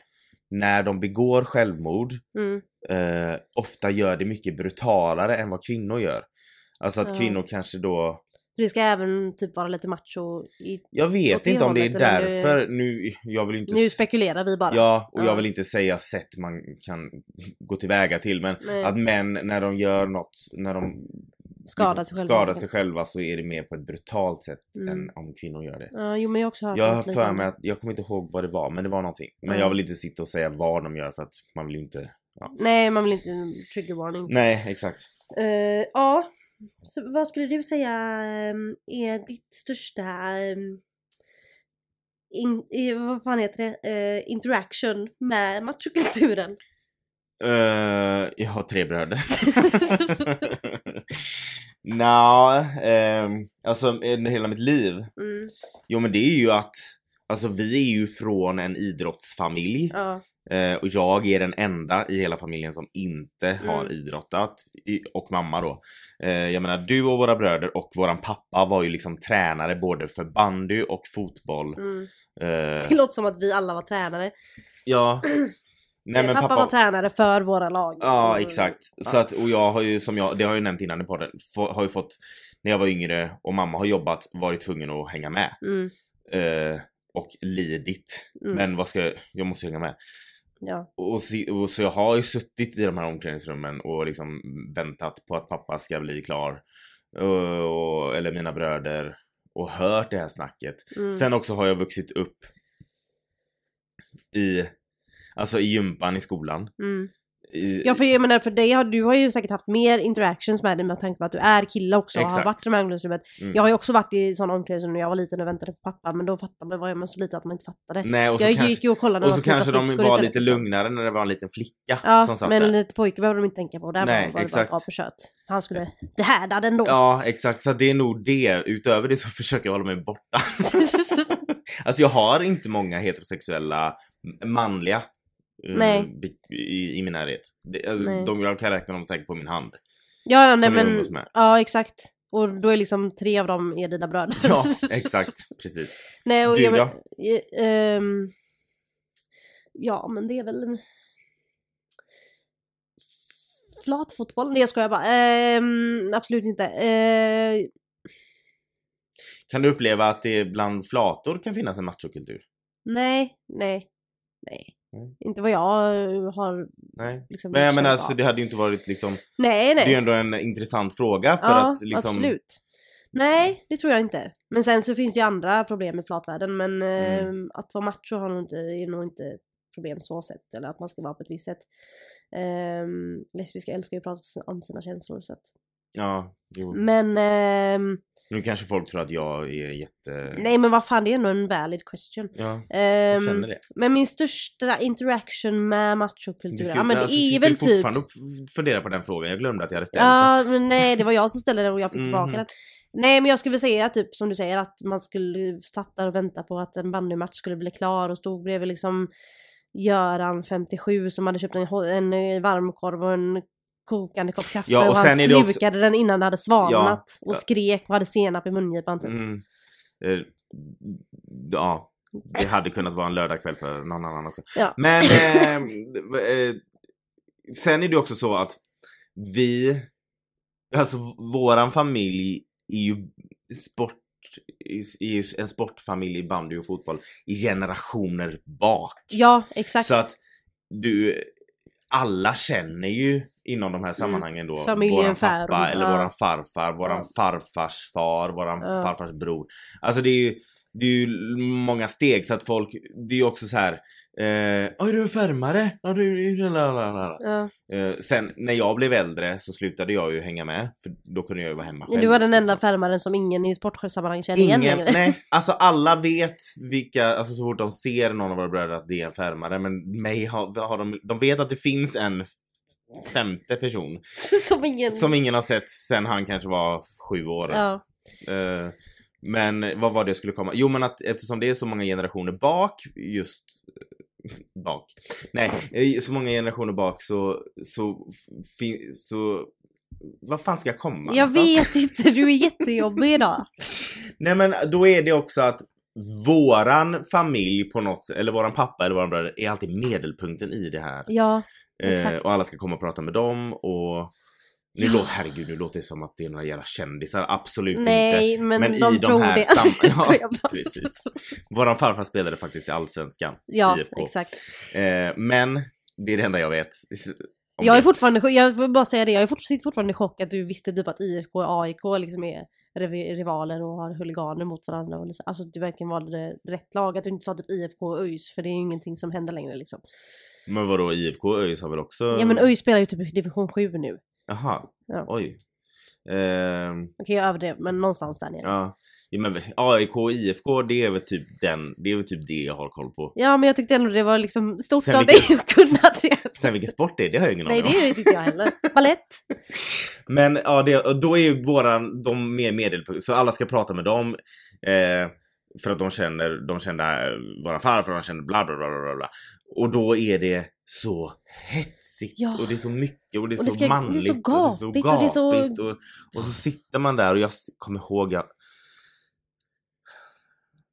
när de begår självmord,
Mm.
eh, ofta gör det mycket brutalare än vad kvinnor gör. Alltså att
Ja.
kvinnor kanske då...
Det ska även typ vara lite macho. I...
Jag
Åt
vet
det
inte om det är
hållet, eller om det-
därför. Nu, jag vill inte...
Nu
s-
spekulerar vi bara.
Ja, och
Ja.
jag vill inte säga sätt man kan gå tillväga till men
Nej,
att män när de gör något, när de
Mm. skadar
liksom
sig själva.
skadar sig själva så är det mer på ett brutalt sätt
Mm.
än om kvinnor gör det.
Ja, jo men jag har också hört
Jag har
något
för
liknande.
mig att, jag kommer inte ihåg vad det var men det var någonting. Men
Mm.
jag vill inte sitta och säga vad de gör för att man vill ju inte...
Nej, man vill inte trigger warning.
Nej, exakt.
Eh, ja, så vad skulle du säga ehm, är ditt största... ehm, in, i, vad fan heter det? Eh, interaction med machokulturen.
Eh, jag har tre bröder. Nja, ehm, alltså under hela mitt liv.
Mm,
Jo men det är ju att, alltså vi är ju från en idrottsfamilj.
ja,
Eh, och jag är den enda i hela familjen som inte
Mm.
har idrottat. I, och mamma då. Eh, jag menar du och våra bröder och våran pappa var ju liksom tränare både för bandy och fotboll.
mm.
Eh,
Det låter som att vi alla var tränare.
ja. Nej
Eh,
men
pappa,
pappa,
var tränare för våra lag.
Ja
Mm.
exakt. Så att, och jag har ju som jag, det har jag ju nämnt innan i podden, få, har ju fått, när jag var yngre och mamma har jobbat, varit tvungen att hänga med.
Mm,
Eh, och lidit.
mm,
Men vad ska jag, jag måste hänga med.
ja.
Och, si- och så jag har ju suttit i de här omklädningsrummen och liksom väntat på att pappa ska bli klar. Eh, och, eller mina bröder. Och hört det här snacket.
Mm.
Sen också har jag vuxit upp i, alltså i gympan i skolan.
Mm.
I,
Ja för jag menar för dig har du har ju säkert haft mer interactions med dig med tanke på att du är kille också och har
Exakt.
varit i de här ungdomsrummet.
Mm.
Jag har ju också varit i sådana omklädningsrum när jag var liten och väntade på pappa men då fattade man, var jag så liten att man inte fattade.
Nej, Mm. och så
jag
kanske,
gick ju och kollade när
Och
de
så
skulle
kanske
ta
de
skridskor
var
istället,
lite
liksom.
lugnare när det var en liten flicka
Ja,
som satt
men en
där.
liten pojke behöver de inte tänka på. Där
Nej,
var det
exakt.
bara ja, på kött. Han skulle behärdad ändå.
Ja, exakt. Så det är nog det. Utöver det så försöker jag hålla mig borta. alltså jag har inte många heterosexuella m- manliga eh,
Nej.
be- i, i min närhet. Det, alltså,
Nej.
de, jag kan räkna dem säkert på min hand.
ja, ja nej,
som jag
men,
umgås med.
ja exakt. Och då är liksom tre av dem är dina bröder.
Ja, exakt. Precis.
nej, och
Du
jag, men-
då?
eh, ehm, ja, men det är väl... Flatfotboll? Nej jag skojar bara. Ehm, absolut inte. Eh,
Kan du uppleva att det bland flator kan finnas en machokultur?
nej, nej, nej.
Mm.
Inte vad jag har
Nej.
liksom...
Men jag menar,
känt
alltså,
av.
det hade ju inte varit liksom...
Nej,
Det
nej.
är ju ändå en intressant fråga för
ja,
att liksom...
absolut. Nej, det tror jag inte. Men sen så finns det ju andra problem i flatvärlden. Men
Mm.
eh, att vara macho har nog inte, är nog inte ett problem så sett. Eller att man ska vara på ett visst sätt. Ehm, lesbiska älskar ju att prata om sina känslor. Så att.
Ja, jo.
Men ehm,
Nu kanske folk tror att jag är jätte...
nej men vad fan det är ändå en valid question.
Ja, jag
Ehm,
känner det.
men min största interaction med machokultur,
Det
ja men det
alltså,
är
sitter
väl
du
typ
fortfarande och f- funderar på den frågan. Jag glömde att jag hade ställt den.
Ja, men nej det var jag som ställde den och jag fick tillbaka
Mhm.
den. Nej men jag skulle säga typ som du säger att man skulle satt där och vänta på att en bandymatch skulle bli klar och stod bredvid liksom Göran 57 som hade köpt en, ho- en eh, varmkorv och en kokande kopp kaffe
Ja, och
och, han
sen är det också-
slukade den innan det hade svalnat
ja.
och skrek och hade senap i mungipan typ.
Mm. Eh, ja, det hade kunnat vara en lördagkväll för någon annan också.
Ja.
Men eh, eh, sen är det också så att vi, alltså våran familj är ju sport är ju en sportfamilj i bandy och fotboll i generationer bak.
Ja exakt.
Så att du, alla känner ju inom de här sammanhangen då
Mm. Familjen
våran pappa
Färum,
eller
ja.
våran farfar, våran
Ja.
farfars far, våran
Ja.
farfars bror. Alltså det är ju det är ju många steg så att folk, det är ju också så här. Eh, "Ja, är du en färmare? Ja, du, lalalala.
ja.
Eh, sen när jag blev äldre så slutade jag ju hänga med för då kunde jag ju vara hemma själv.
Du var den enda
liksom.
färmaren som ingen i sportsammanhang kände igen
Ingen,
längre.
nej, alltså alla vet vilka, alltså så fort de ser någon av våra bröder att det är en färmare men mig har, har de, de vet att det finns en femte person.
Som ingen...
Som ingen har sett sen han kanske var sju år.
Ja.
Eh, men vad var det jag skulle komma? Jo men att eftersom det är så många generationer bak, just eh, bak. Nej, eh, så många generationer bak så, så, fin- så vad fan ska jag komma?
Jag
någonstans?
vet inte, du är jättejobbig idag.
Nej men då är det också att våran familj på något sätt, eller våran pappa eller våran bröder är alltid medelpunkten i det här.
Ja.
Eh,
Exakt.
och alla ska komma och prata med dem och nu
Ja.
låter, herregud, nu låter det som att det är några jävla kändisar. Absolut inte.
Nej, men,
Men i
de
de
tror
här
det.
sam- Ja,
Skojar bara.
precis. Våran farfar spelade faktiskt i Allsvenskan.
Ja,
IFK.
exakt.
Eh, men det är det enda jag vet. om
Jag är
det.
fortfarande, jag vill bara säga det, jag är fort- sitter fortfarande i chock att du visste typ att IFK och AIK liksom är rev- rivaler och har huliganer mot varandra. Och liksom, alltså att du verkligen valde det rätt lag, att du inte sa typ IFK och ÖIS för det är ju ingenting som händer längre liksom.
Men vadå, IFK och ÖIS har väl också...
Ja men ÖIS spelar ju typ i division 7 nu.
Jaha,
Ja.
oj. Ehm,
Okej jag överdrev, men någonstans där nere. Ja.
ja. ja men AIK och IFK det är väl typ den, det är väl typ det jag har koll på.
men jag tyckte ändå det var liksom stort
Sen
av dig
vilken-
att kunna det.
Sen vilken sport det är, det har jag ingen
Nej
aning om.
det tyckte jag heller. Balett.
Men ja, det, och då är ju våran, de mer medelpunkt, så alla ska prata med dem. Eh, för att de känner, de kände eh, våran farfar, de kände bla bla bla bla bla. Och då är det så hetsigt
Ja.
och det är så mycket och det är
Och
så
det ska- det är så
manligt.
gapigt och det är så-
gapigt och, och så sitter man där och jag s- kommer ihåg jag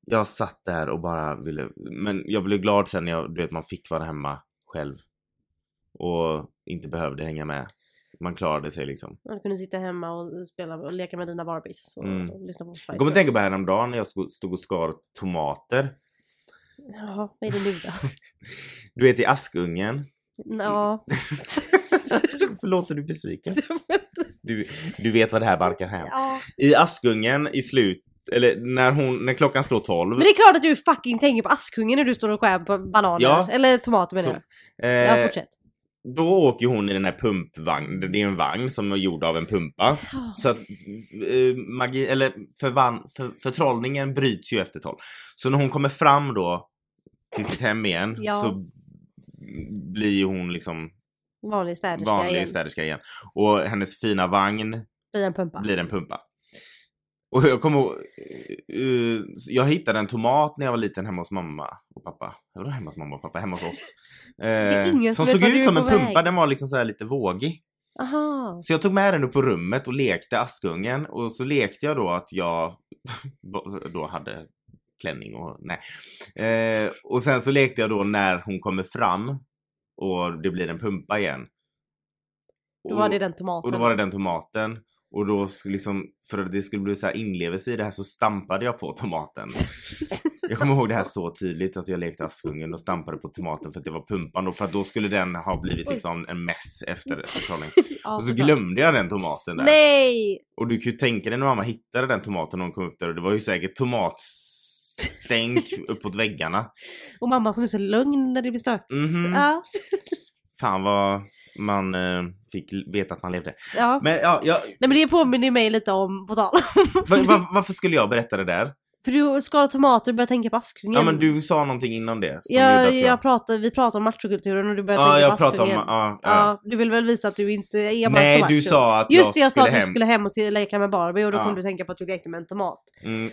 jag satt där och bara ville, men jag blev glad sen när jag, du vet man fick vara hemma själv. Och inte behövde hänga med. Man klarade sig liksom.
Man kunde sitta hemma och eh, spela och leka med dina Barbies och,
Mm.
och lyssna på Spice
Jag kommer att
Girls.
tänka på det här om dagen när jag sko- stod och skar tomater.
Jaha, vad är det nu då?
Du vet i askungen.
Ja.
Varför låter du besviken? Du, du vet vad det här barkar hem.
ja.
I askungen i slut, eller när, hon, när klockan slår 12.
Men det är klart att du fucking tänker på Askungen när du står och skär på bananer.
Ja.
Eller tomater menar
Tom-
jag. Ja,
Eh,
fortsätt.
då åker hon i den här pumpvagnen, det är en vagn som är gjord av en pumpa.
Ja.
Så att eh, magi, eller förvan, för, förtrollningen bryts ju efter 12. Så när hon kommer fram då till sitt hem igen
Ja.
så blir hon liksom
Vanlig städerska
vanlig
igen.
städerska igen. Och hennes fina vagn
Blir en pumpa.
blir en pumpa. Och jag kommer ihåg, eh, jag hittade en tomat när jag var liten hemma hos mamma och pappa. Vadå hemma hos mamma och pappa? Hemma hos oss.
är
Eh,
ingen
som
som vet
såg
vad du
ut
är
som
på
en pumpa,
väg.
den var liksom så här lite vågig.
Aha.
Så jag tog med den upp på rummet och lekte Askungen och så lekte jag då att jag då hade klänning och nej. Eh, och sen så lekte jag då när hon kommer fram och det blir en pumpa igen.
Då var
Och-
det den tomaten.
och då var det den tomaten. Och då sk- liksom, för att det skulle bli så här inlevelse i det här så stampade jag på tomaten. Jag kommer ihåg det här så tydligt att jag lekte Askungen och stampade på tomaten för att det var pumpan och för att då skulle den ha blivit
Oj.
liksom en mess efter förtrollning.
Ja,
Och så
såklart.
glömde jag den tomaten där.
Nej!
Och du kan ju tänka dig när mamma hittade den tomaten när hon kom upp där och det var ju säkert tomatstänk uppåt väggarna.
Och mamma som är så lugn när det blir stökigt.
Mhm.
Ja.
Fan vad man eh, fick l- veta att man levde.
ja.
Men ja, jag,
Nej men det påminner ju mig lite om, på tal
va, va, varför skulle jag berätta det där?
För du skar tomater och började tänka på Askungen.
Ja men du sa någonting innan det som
jag,
gjorde
jag...
att jag...
pratar, vi pratar om machokulturen och du började
Ja,
tänka på
jag pratade om...
Askungen.
Ja, ja.
Ja, du vill väl visa att du inte är bara
Nej,
svart,
du
så.
sa att
Just det,
jag
jag sa
skulle
att du
hem.
skulle hem och se- leka med Barbie och då
Ja.
kom du tänka på att du lekte med en tomat.
Mm.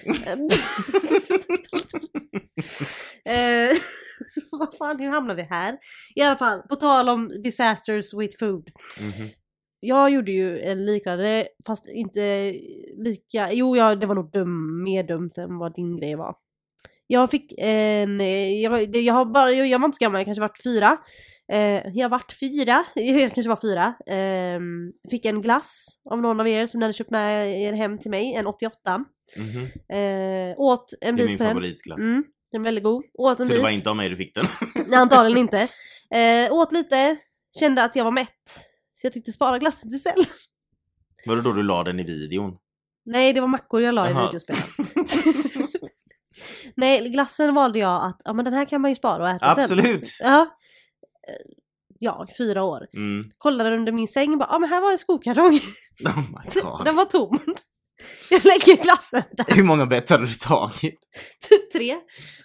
Eh, Vad fan, hur hamnar vi här? I alla fall, på tal om disasters with food.
Mhm.
Jag gjorde ju en liknande, fast inte lika, jo ja, det var nog dum, mer dumt än vad din grej var. Jag fick en, eh, jag, var- det- jag, har bara, jag jag var inte så gammal, jag kanske vart fyra. Eh, jag vart fyra, jag kanske var fyra. Ehm, fick en glass av någon av er som ni hade köpt med er hem till mig, en 88.
Mhm.
Eh, åt en
Det är
bit
min
på den.
favoritglass.
Mm, den är väldigt god. Åt en
Så
bit.
det var inte av mig du fick den?
Nej, antagligen inte. Eh, åt lite, kände att jag var mätt. Så jag tyckte spara glassen till sen.
Var det då du la den i videon?
Nej, det var mackor jag la i
Jaha.
videospelaren. Nej, glassen valde jag att, ja men den här kan man ju spara och äta sen.
Absolut!
Ja. Eh, Ja, fyra år.
Mm.
Kollade under min säng och bara, ja men här var en skokartong.
Oh my god.
Den var tom. Jag lägger glassen där,
Hur många bett hade du tagit?
typ tre.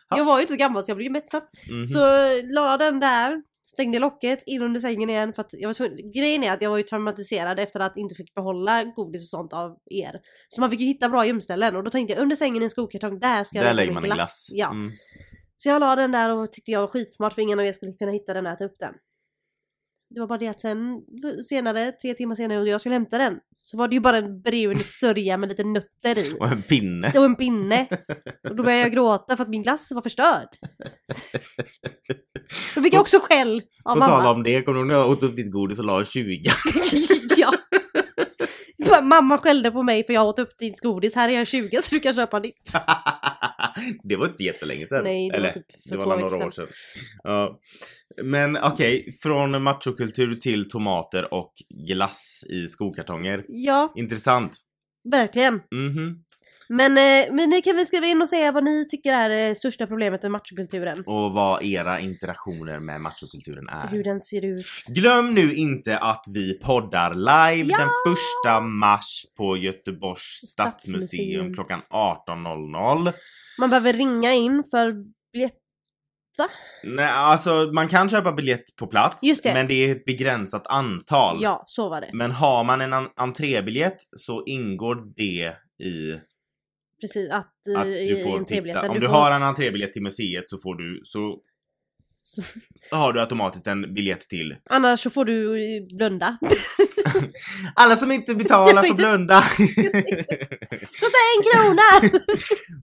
Ja.
Jag var ju inte så gammal så jag blev ju mätt snabbt.
Mhm.
Så la den där, Stängde locket, in under sängen igen för att jag var tvungen. Grejen är att jag var ju traumatiserad efter att inte fick behålla godis och sånt av er. Så man fick ju hitta bra gömställen och då tänkte jag under sängen i en skokartong, där ska jag
Där
lägga
lägger
min
man en glass.
Ja.
Mm.
Så jag la den där och tyckte jag var skitsmart för ingen av er skulle kunna hitta den och äta upp den. Det var bara det att sen senare, tre timmar senare och jag skulle hämta den. Så var det ju bara en brun sörja med lite nötter i.
Och en pinne.
Och en pinne. Och då började jag gråta för att min glass var förstörd. Då fick jag också skäll av
På tal
mamma.
om det, kommer du ihåg när jag åt upp ditt godis och la en 20?
ja. Bara, Mamma skällde på mig för jag åt upp ditt godis. Här är jag 20 så du kan köpa nytt.
det var inte så jättelänge sedan.
Nej, det var
Eller,
typ för
det
två
var
veckor
några år sedan.
sedan.
Ja. Men okej, från machokultur till tomater och glass i skokartonger.
Ja,
Intressant.
verkligen.
Mhm.
Men, eh, men ni kan väl skriva in och säga vad ni tycker är det största problemet med machokulturen.
Och vad era interaktioner med machokulturen är.
Hur den ser ut.
Glöm nu inte att vi poddar live
Ja!
den första mars på Göteborgs stadsmuseum,
Stadsmuseum.
klockan 18.00.
Man behöver ringa in för biljett...
Nej, alltså man kan köpa biljett på plats
Just det.
men det är ett begränsat antal.
Ja, så var det.
Men har man en en- entrébiljett så ingår det i
Precis, att, eh,
att du får titta. Om du har en entrébiljett till museet så får du så
Så-
har du automatiskt en biljett till.
Annars så får du eh, blunda.
Alla som inte betalar
Jag
får
tänkte-
blunda.
Kosta en krona!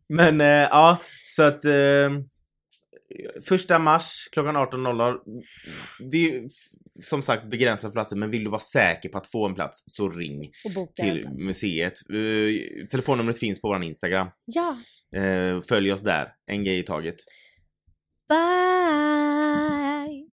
Men eh, ja, så att eh, första mars klockan 18.00. Det är ju f- som sagt begränsade platser, men vill du vara säker på att få en plats så ring
Och boka
till
en plats.
museet. Eh, telefonnumret finns på vår Instagram.
Ja,
Eh, följ oss där, en grej i taget.
bye!